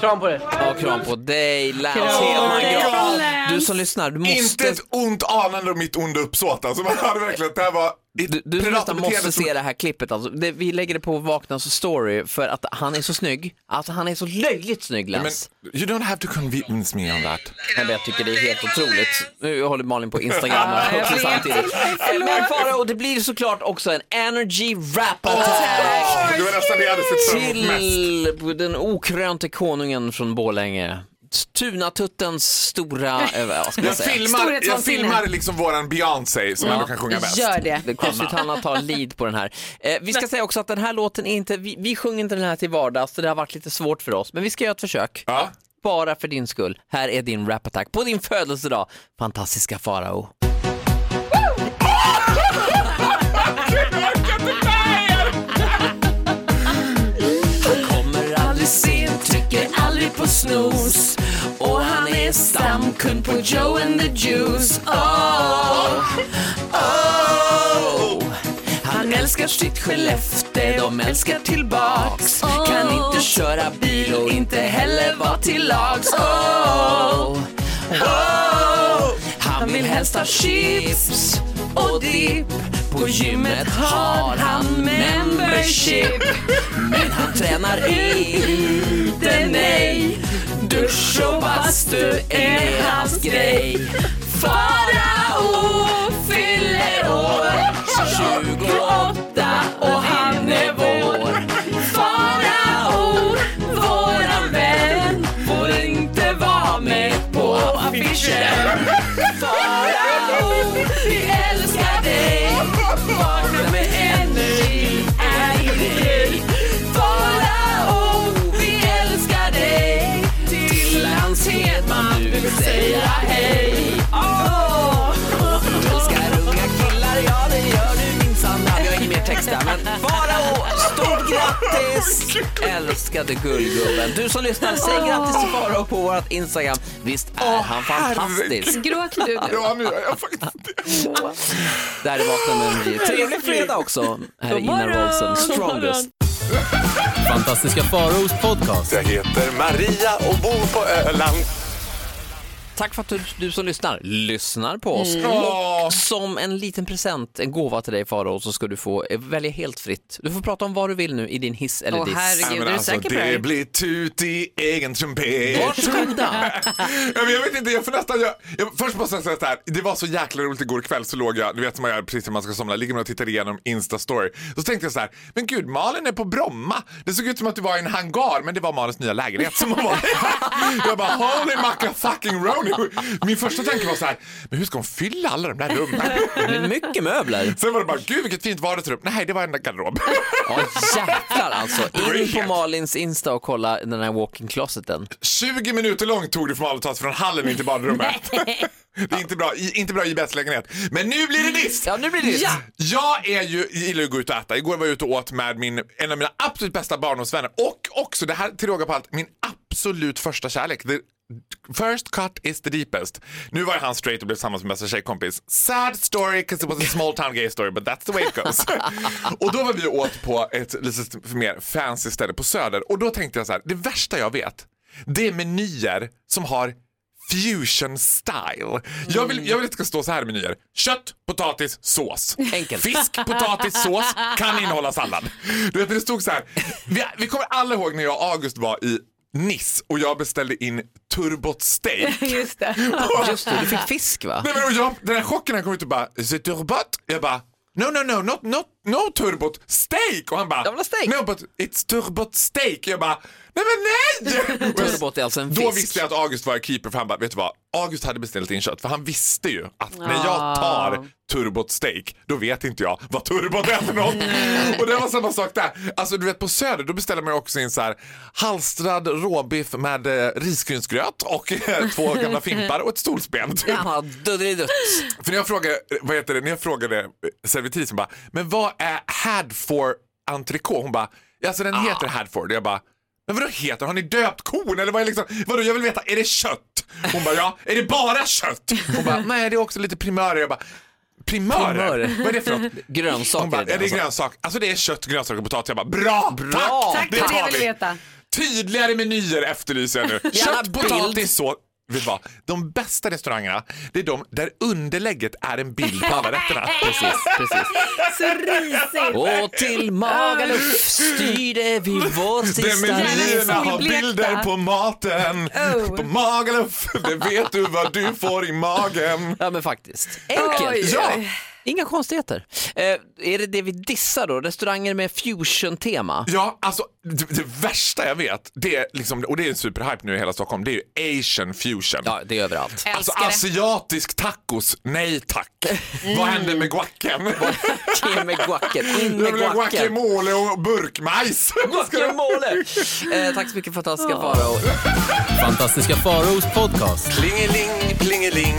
S6: Kram på dig.
S2: Ja, kram på dig, Lance
S4: Kram
S2: Hedman
S4: på dig,
S2: Grön.
S4: Lance.
S2: Du som lyssnar, du
S3: Inte
S2: måste...
S3: ett ont anande om mitt onda uppsåt. Alltså, man hade verkligen, det här var ett
S2: Du, du som
S3: predat
S2: lyssnar
S3: beteende
S2: måste
S3: som-
S2: se det här klippet. Alltså, det, vi lägger det på Vaknas story för att han är så snygg. Alltså han är så löjligt snygg
S3: Men,
S2: Lance.
S3: you don't have to convince me on that.
S2: Men, jag tycker det är helt otroligt. Nu håller Malin på Instagram och också samtidigt. Eh, Men Farao, och det blir såklart också en energy wrap
S3: Det var nästan det jag hade sett fram emot mest.
S2: till den okrönte konungen från Borlänge. Tunatuttens stora, eh, vad ska man
S3: Jag
S2: säga?
S3: filmar, jag
S4: Alltså, Storhetsvansinne.
S3: filmar liksom våran Beyoncé som ändå kan sjunga bäst.
S4: Gör det.
S2: Crossfit Hanna tar lead på den här. Eh, vi ska säga också att den här låten är inte, vi, vi sjunger inte den här till vardags, så det har varit lite svårt för oss. Men vi ska göra ett försök.
S3: Ja.
S2: Bara för din skull. Här är din rap-attack på din födelsedag, fantastiska Farao. kommer aldrig sent, trycker aldrig på snooze Och han är stamkund på Joe and the Juice Oh, oh Han älskar sitt Skellefteå, de älskar tillbaks Kan inte köra bil och inte heller vara till lags Oh, oh Han vill helst ha chips och dipp På gymmet har han membership men han tränar inte, nej Dusch och bastu är hans grej Farao fyller år 28 och han är vår Farao, våran vän Får inte vara med på affischen Farao, vi älskar dig Vakna med energi, är i dig Farao, vi älskar dig Till hans Hedman vill säga hej Åh! Älskar unga killar, ja det gör du minsann Vi har ingen mer text där, men Farao, stort grattis! Älskade gullgubben. Du som lyssnar, säg grattis till Farao på vårt Instagram. Visst är han fantastisk?
S4: Gråt du nu?
S3: Ja, nu har jag faktiskt det.
S2: Där är Vakna med Energy. Trevlig fredag också. Här är Ina Rolsen, Strongest.
S5: Fantastiska Faraos podcast.
S3: Jag heter Maria och bor på Öland.
S2: Tack för att du, du som lyssnar, lyssnar på oss.
S3: Åh.
S2: Som en liten present, en gåva till dig Farao, så ska du få eh, välja helt fritt. Du får prata om vad du vill nu i din hiss eller
S4: Åh,
S2: diss.
S4: herregud.
S3: Nej, men alltså,
S4: är du säker på det här?
S3: det blir tut i egen trumpet.
S2: Varsågoda.
S3: Ja, men jag vet inte, jag får nästan... Jag, jag, först måste jag säga så här, det var så jäkla roligt igår kväll så låg jag, du vet som man gör precis när man ska somna, ligger man och tittar igenom Insta-story. Så tänkte jag så här, men gud Malin är på Bromma. Det såg ut som att du var i en hangar, men det var Malins nya lägenhet som hon var i. Jag bara, holy macka fucking roni. Min första tanke var så här, men hur ska hon fylla alla de där rummen?
S2: Det är Mycket möbler.
S3: Sen var det bara, gud vilket fint vardagsrum. Nej, det var en garderob.
S2: Ja, jäklar alltså. In på
S3: Brilliant.
S2: Malins Insta och kolla den här walk-in closeten.
S3: 20 minuter långt tog det för Malin att ta sig från hallen in till badrummet. det är inte bra, i- inte bra IBS-lägenhet. Men nu blir det diss!
S2: Ja, nu blir det ja.
S3: Jag är ju, gillar ju att gå ut och äta. Igår var jag ute och åt med min, en av mina absolut bästa barndomsvänner och också, det här till råga på allt, min absolut första kärlek. The First cut is the deepest. Nu var han straight och blev tillsammans med bästa tjejkompis. Sad story, because it was a small town gay story, but that's the way it goes. och då var vi och åt på ett lite mer fancy ställe på Söder och då tänkte jag så här, det värsta jag vet, det är menyer som har fusion style. Jag,
S2: Mm.
S3: vill, jag vill att det ska stå så här i menyer. Kött, potatis, sås.
S2: Enkelt.
S3: Fisk, potatis, sås kan innehålla sallad. Du vet, det stod så här. Vi, vi kommer alla ihåg när jag och August var i Nice och jag beställde in turbot steak.
S4: Just det.
S2: Just det, du fick fisk va?
S3: Nej, men och jag, den här chocken han kom ut och bara, is it turbot? Jag bara, no, no, no, not, not, no turbot, steak! Och han bara,
S2: Jag vill ha steak.
S3: no, but it's turbot steak. Jag bara, nej men nej! Och jag-
S2: Turbot är alltså en
S3: Då
S2: fisk.
S3: visste jag att August var keeper för han bara, vet du vad? August hade beställt in kött för han visste ju att när jag tar turbot steak då vet inte jag vad turbot är för något. Och det var samma sak där. Alltså du vet på Söder då beställer man ju också in så här halstrad råbiff med eh, risgrynsgröt och eh, två gamla fimpar och ett stolsben. Typ.
S2: Ja, duddelidutt.
S3: För när jag frågade, vad heter det, när jag frågade eh, servitrisen bara, men vad är Hadford entrecote? Hon bara, "Ja, alltså den
S2: Ah.
S3: heter Hadford. Och jag bara, men vadå heter den? Har ni döpt kon? Eller vad är liksom, vadå jag vill veta, är det kött? Hon bara, ja, är det bara kött? Hon bara, nej det är också lite primörer. Jag bara, primörer?
S2: Primörer.
S3: Vad är det för något?
S2: Grönsaker
S3: Hon bara,
S2: är det
S3: ja, det
S2: alltså."
S3: är grönsak. Alltså det är kött, grönsaker och potatis. Jag bara, bra!
S2: Bra.
S3: Tack!
S4: Det var det jag
S3: tar
S4: ville
S3: vi.
S4: veta.
S3: Tydligare menyer efterlyser jag nu.
S2: Gärna
S3: Kött,
S2: bild.
S3: potatis, så. Vet du vad? De bästa restaurangerna, det är de där underlägget är en bild på alla rätterna.
S2: Precis, precis.
S4: Så risigt.
S2: Och till Magaluf styrde vi vår
S3: Det
S2: sista
S4: Jävligt
S3: menyerna
S2: resa.
S3: har
S4: solblekta.
S3: bilder på maten.
S4: Oh.
S3: På Magaluf, det vet du vad du får i magen.
S2: Ja men faktiskt. Enkelt.
S4: Oj.
S2: Ja. Inga konstigheter. Eh, är det det vi dissar då? Restauranger med fusion-tema?
S3: Ja, alltså det, det värsta jag vet, det är liksom, och det är en superhype nu i hela Stockholm, det är ju asian fusion.
S2: Ja, det Mm. är överallt.
S3: Alltså
S4: Älskar det.
S3: asiatisk tacos, nej tack. Vad händer med guacken?
S2: In med guacken. In
S3: Jag
S2: med
S3: vill ha
S2: guacken.
S3: guacamole och burkmajs.
S2: Guacamole! Eh, tack så mycket fantastiska Farao.
S5: Fantastiska Faraos podcast.
S8: Plingeling, plingeling.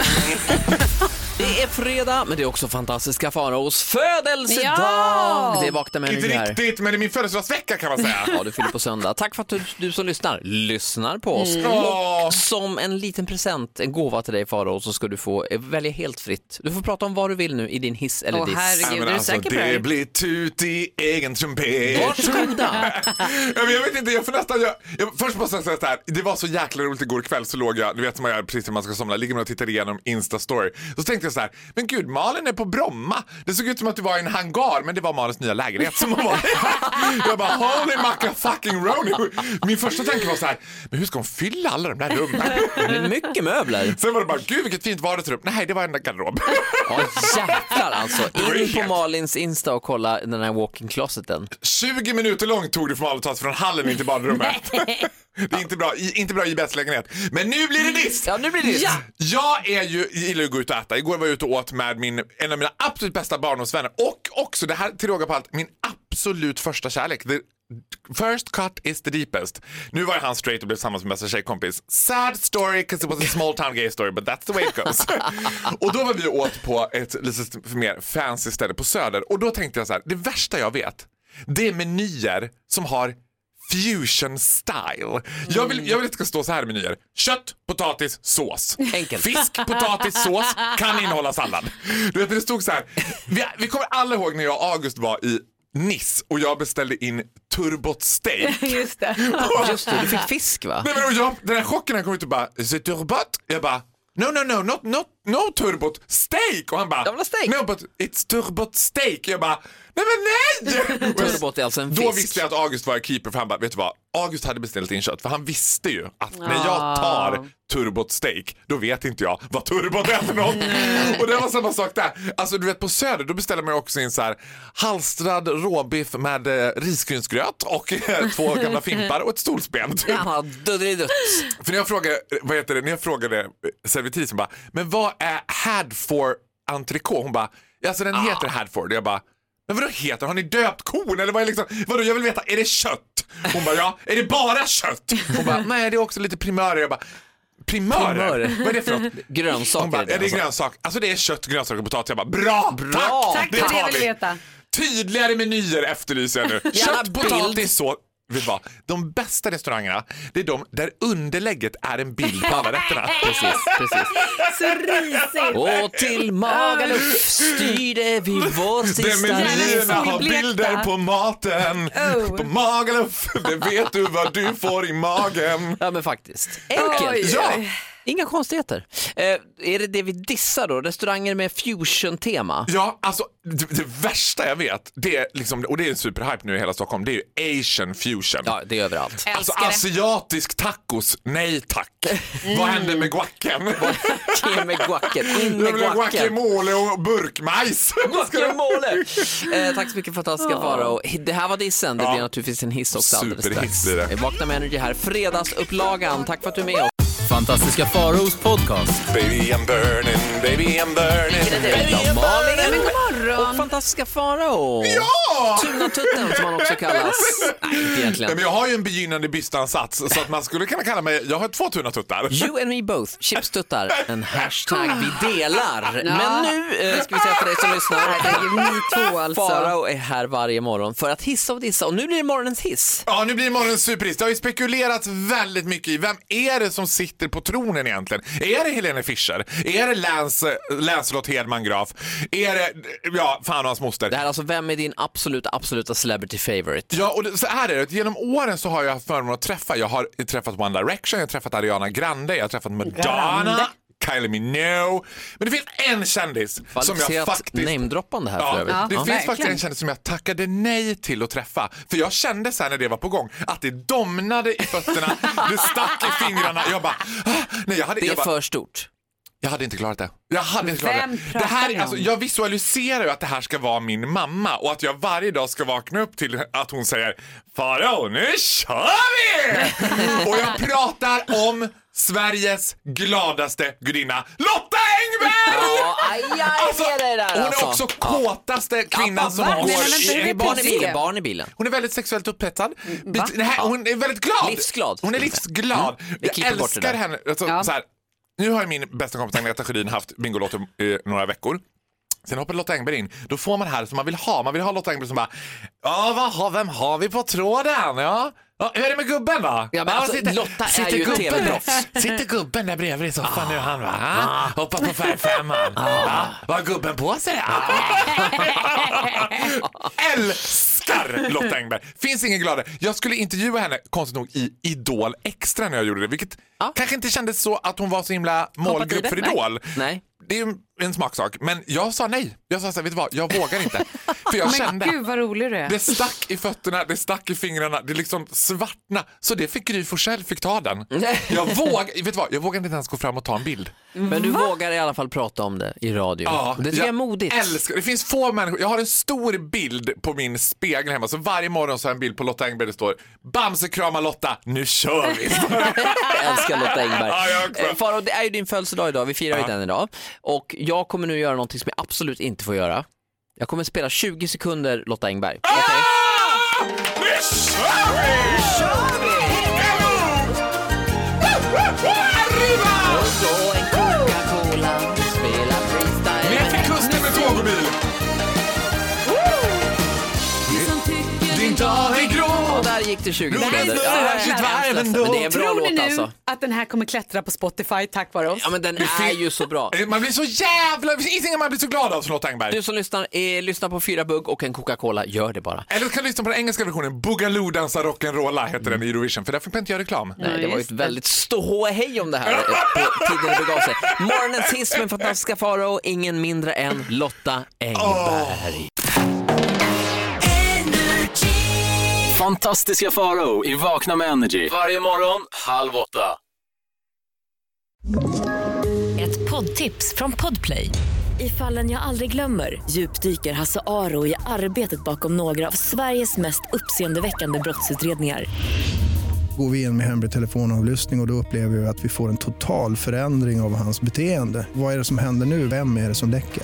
S2: Det är fredag, men det är också fantastiska Faraos födelsedag!
S4: Ja!
S2: Det är vakna
S3: Inte
S2: människor här.
S3: riktigt, men det är min födelsedagsvecka kan man säga.
S2: Ja, du fyller på söndag. Tack för att du, du som lyssnar lyssnar på oss.
S3: Åh,
S2: Som en liten present, en gåva till dig Farao, så ska du få eh, välja helt fritt. Du får prata om vad du vill nu i din hiss eller
S4: Åh,
S2: diss.
S4: herregud.
S3: nej,
S4: är
S3: men
S4: du
S3: alltså,
S4: säker på det
S3: det
S4: här?
S3: blir tut i egen trumpet.
S2: Varsågoda!
S3: Ja, men jag vet inte, jag får nästan... Jag, jag, först måste jag säga så här, det var så jäkla roligt igår kväll så låg jag, du vet som man gör precis när man ska somna, ligger man och tittar igenom Insta-story. Så tänkte jag så här, men gud Malin är på Bromma. Det såg ut som att du var i en hangar, men det var Malins nya lägenhet som hon var i. Jag bara, holy macka fucking roni. Min första tanke var så här, men hur ska hon fylla alla de där rummen?
S2: Med mycket möbler.
S3: Sen var det bara, gud vilket fint vardagsrum. Nej, det var en garderob.
S2: Ja, jäklar alltså. In
S3: Brilliant.
S2: på Malins Insta och kolla den här walking closeten.
S3: 20 minuter långt tog det för Malin att ta sig från hallen in till badrummet. Det är inte bra, i- inte bra IBS lägenhet. Men nu blir det diss!
S2: Ja, nu blir det ja.
S3: Jag är ju, gillar ju att gå ut och äta. Igår var jag ute och åt med min, en av mina absolut bästa barndomsvänner och också, det här till råga på allt, min absolut första kärlek. The First cut is the deepest. Nu var ju han straight och blev tillsammans med bästa tjejkompis. Sad story, 'cause it was a small town gay story, but that's the way it goes. och då var vi och åt på ett lite mer fancy ställe på Söder och då tänkte jag så här, det värsta jag vet, det är menyer som har fusion style. Jag, vill, jag vill att det ska stå så här i menyer. Kött, potatis, sås.
S2: Enkelt.
S3: Fisk, potatis, sås kan innehålla sallad. Du vet, det stod så här. Vi, vi kommer alla ihåg när jag och August var i Nice och jag beställde in turbot steak.
S4: Just det.
S2: Just det, du fick fisk va?
S3: Nej, men och jag, den här chocken han kom ut och bara, is it turbot? Jag bara, no, no, no, not, not, no turbot, steak! Och han bara,
S2: Jag vill ha steak.
S3: no, but it's turbot steak. Jag bara, nej men nej! Och jag-
S2: Turbot är alltså en
S3: då
S2: fisk.
S3: visste jag att August var keeper för han bara, vet du vad? August hade beställt in kött för han visste ju att när
S2: Ah.
S3: jag tar turbot steak då vet inte jag vad turbot är för något. Och det var samma sak där. Alltså du vet på Söder då beställer man ju också in så här halstrad råbiff med eh, risgrynsgröt och eh, två gamla fimpar och ett stolsben. Typ.
S2: Ja, duddelidutt.
S3: För när jag frågade, vad heter det, när jag frågade servitrisen bara, men vad är Hadford entrecote? Hon bara, "Ja, alltså den heter Hadford. Och jag bara, men vadå heter den? Har ni döpt kon? Eller vad är liksom, vadå jag vill veta, är det kött? Hon bara, ja, är det bara kött? Hon bara, nej det är också lite primörer. Jag bara, primörer?
S2: Primörer.
S3: Vad är det för något?
S2: Grönsaker
S3: Hon bara,
S2: är det
S3: ja, det
S2: alltså.
S3: är grönsak. Alltså det är kött, grönsaker och potatis. Jag bara, bra!
S2: Bra.
S3: Tack!
S4: Tack, det var det jag
S3: vi.
S4: ville veta.
S3: Tydligare menyer efterlyser jag nu.
S2: Gärna
S3: Kött,
S2: bild.
S3: potatis, så. Vet du vad? De bästa restaurangerna, det är de där underlägget är en bild på alla rätterna.
S2: Precis, precis.
S4: Så risigt.
S2: Och till Magaluf styrde vi vår
S3: Det
S2: sista
S3: menyerna
S2: resa.
S3: har
S4: solblekta.
S3: bilder på maten.
S4: Oh.
S3: På Magaluf, det vet du vad du får i magen.
S2: Ja men faktiskt. Enkelt.
S4: Oj.
S3: Ja,
S2: Inga konstigheter. Eh, är det det vi dissar då? Restauranger med fusion-tema?
S3: ja alltså det, det värsta jag vet, det är liksom, och det är en superhype nu i hela Stockholm, det är ju asian fusion.
S2: Ja, det är överallt.
S3: Alltså
S4: Älskar det. Mm.
S3: asiatisk tacos, nej tack. Vad händer med guacken?
S2: In med guacken. In
S3: Jag
S2: med
S3: vill ha
S2: guacken.
S3: guacamole och burkmajs.
S2: Guacamole! Eh, tack så mycket fantastiska Farao. Det här var dissen. Det blir naturligtvis en hiss också alldeles
S3: Superhiss
S2: strax.
S3: blir det.
S2: Eh, Vakna med Energy här. Fredagsupplagan. Tack för att du är med oss.
S5: Fantastiska Faraos podcast.
S8: Baby I'm burning, baby I'm burning, baby I'm
S2: Malin
S4: Men god morgon.
S2: och fantastiska Farao.
S3: Ja!
S2: Tunatutten som han också kallas. Nej, inte
S3: Nej,
S2: egentligen.
S3: men jag har ju en begynnande bystansats så att man skulle kunna kalla mig, jag har två tunna tuttar.
S2: You and me both, chipstuttar, en hashtag vi delar. Men nu eh, ska vi säga för dig som
S4: Herregud,
S2: lyssnar.
S4: ni två alltså.
S2: Farao är här varje morgon för att hissa och dissa och nu blir det morgonens hiss.
S3: Ja, nu blir morgonens superhiss. Det har ju spekulerats väldigt mycket i vem är det som sitter på tronen egentligen? Är det Helene Fischer? Är det Lance, Lancelot Hedman Graf? Är det, ja, fan och hans moster?
S2: Det här är alltså, vem är din absoluta, absoluta celebrity favorite?
S3: Ja, och det- så här är det. Genom åren så har jag haft förmånen att träffa. Jag har träffat One Direction, jag har träffat Ariana Grande, jag har träffat Madonna, Kylie Minogue. Men det finns en kändis som jag
S2: Kvalificerat
S3: faktiskt...
S2: namedroppande här för
S3: Ja,
S2: övrigt.
S3: det
S2: Ja.
S3: finns faktiskt en kändis som jag tackade nej till att träffa. För jag kände sen när det var på gång att det domnade i fötterna, det stack i fingrarna. Jag bara, ah, nej, jag hade,
S2: Det
S3: jag
S2: är
S3: bara,
S2: för stort.
S3: jag hade inte klarat det. Jag hade inte klarat
S4: Vem
S3: det.
S4: pratar
S3: det här,
S4: ni om?
S3: alltså, jag visualiserar ju att det här ska vara min mamma och att jag varje dag ska vakna upp till att hon säger Farao, nu kör vi! och jag pratar om Sveriges gladaste gudinna Lotta Engberg!
S2: Ja, aj, aj,
S3: Alltså,
S2: det är det där,
S3: hon
S2: alltså.
S3: är också kåtaste kvinnan som
S2: va?
S3: går
S2: Nej, men vänta,
S3: i
S2: det är barn i bilen. Barn i bilen.
S3: hon är väldigt sexuellt upphetsad. Bet- Nej, hon är väldigt glad.
S2: Mm, Livsglad. Mm.
S3: Hon är livsglad.
S2: Vi
S3: Jag
S2: klipper bort det
S3: älskar
S2: där.
S3: henne. Alltså,
S4: Ja.
S3: så här, nu har ju min bästa kompis Agneta Sjödin haft Bingolotto eh, några veckor. Sen hoppar Lotta Engberg in. Då får man det här som man vill ha. Man vill ha Lotta Engberg som bara, ja, vad har, vem har vi på tråden? Ja. Ja, hur är det med gubben då?
S2: Ja, men alltså, Lotta är ju ett
S3: gubben-
S2: TV-proffs. Ah.
S3: Sitter gubben där bredvid i soffan nu han va? Hoppar på färgfemman. Ah. Vad har gubben på sig? Ah.
S2: Ah.
S3: älskar Lotta Engberg. Finns ingen gladare. Jag skulle intervjua henne, konstigt nog, i Idol Extra när jag gjorde det. Vilket kanske inte kändes så att hon var så himla målgrupp för
S2: Kompatibel? Nej.
S3: Idol.
S2: Nej.
S3: Det är ju en smaksak. Men jag sa nej. Jag sa så här, vet du vad, jag vågar inte. För jag
S4: Men
S3: kände.
S4: gud vad rolig du är.
S3: Det stack i fötterna, det stack i fingrarna, det liksom svartna. Så det fick Gry Forssell fick ta den. Jag, våg, vet du vad, jag vågade inte ens gå fram och ta en bild.
S2: Men du vågar i alla fall prata om det i radio.
S3: Ja,
S2: det tycker jag är modigt.
S3: Älskar. Det finns få människor. Jag har en stor bild på min spegel hemma. Så varje morgon så har jag en bild på Lotta Engberg. Det står Bamse kramar Lotta, nu kör vi.
S2: Jag älskar Lotta Engberg.
S3: Ja, jag också.
S2: Eh, Faro, det är ju din födelsedag idag, vi firar ju den idag. Och jag kommer nu göra någonting som jag absolut inte får göra. Jag kommer spela 20 sekunder Lotta Engberg. Okej?
S3: Ah! Nu kör vi! Arriba! Ner till kusten med tåg och bil. Din dag är grå.
S2: Och där gick det 20
S3: Jo, det är
S2: sekunder.
S3: så
S2: Ja,
S3: här,
S2: jag är
S3: sitt varv
S2: ledsen,
S3: ändå.
S2: Men det är en bra
S4: Tror ni
S2: låt
S4: nu
S2: alltså.
S4: att den här kommer klättra på Spotify tack vare oss?
S2: Ja men den är ju så bra.
S3: Eh, Man blir så jävla... Det finns inget man blir så glad av som Lotta Engberg.
S2: Du som lyssnar, eh, lyssna på fyra bugg och en Coca-Cola, gör det bara.
S3: Eller kan du lyssna på den engelska versionen. Boogaloo dansar rock'n'rolla heter den i Eurovision. För där fick man inte göra reklam.
S2: Nej, det var ju
S4: just
S2: ett väldigt ståhej om det här eh, på tiden det begav sig. Morgonens hiss med fantastiska Farao, ingen mindre än Lotta Engberg.
S5: Fantastiska Farao i Vakna med Energy. Varje morgon, halv åtta.
S1: Ett poddtips från Podplay. I fallen jag aldrig glömmer djupdyker Hasse Aro i arbetet bakom några av Sveriges mest uppseendeväckande brottsutredningar.
S9: Går vi in med hemlig telefonavlyssning och, och då upplever vi att vi får en total förändring av hans beteende. Vad är det som händer nu? Vem är det som läcker?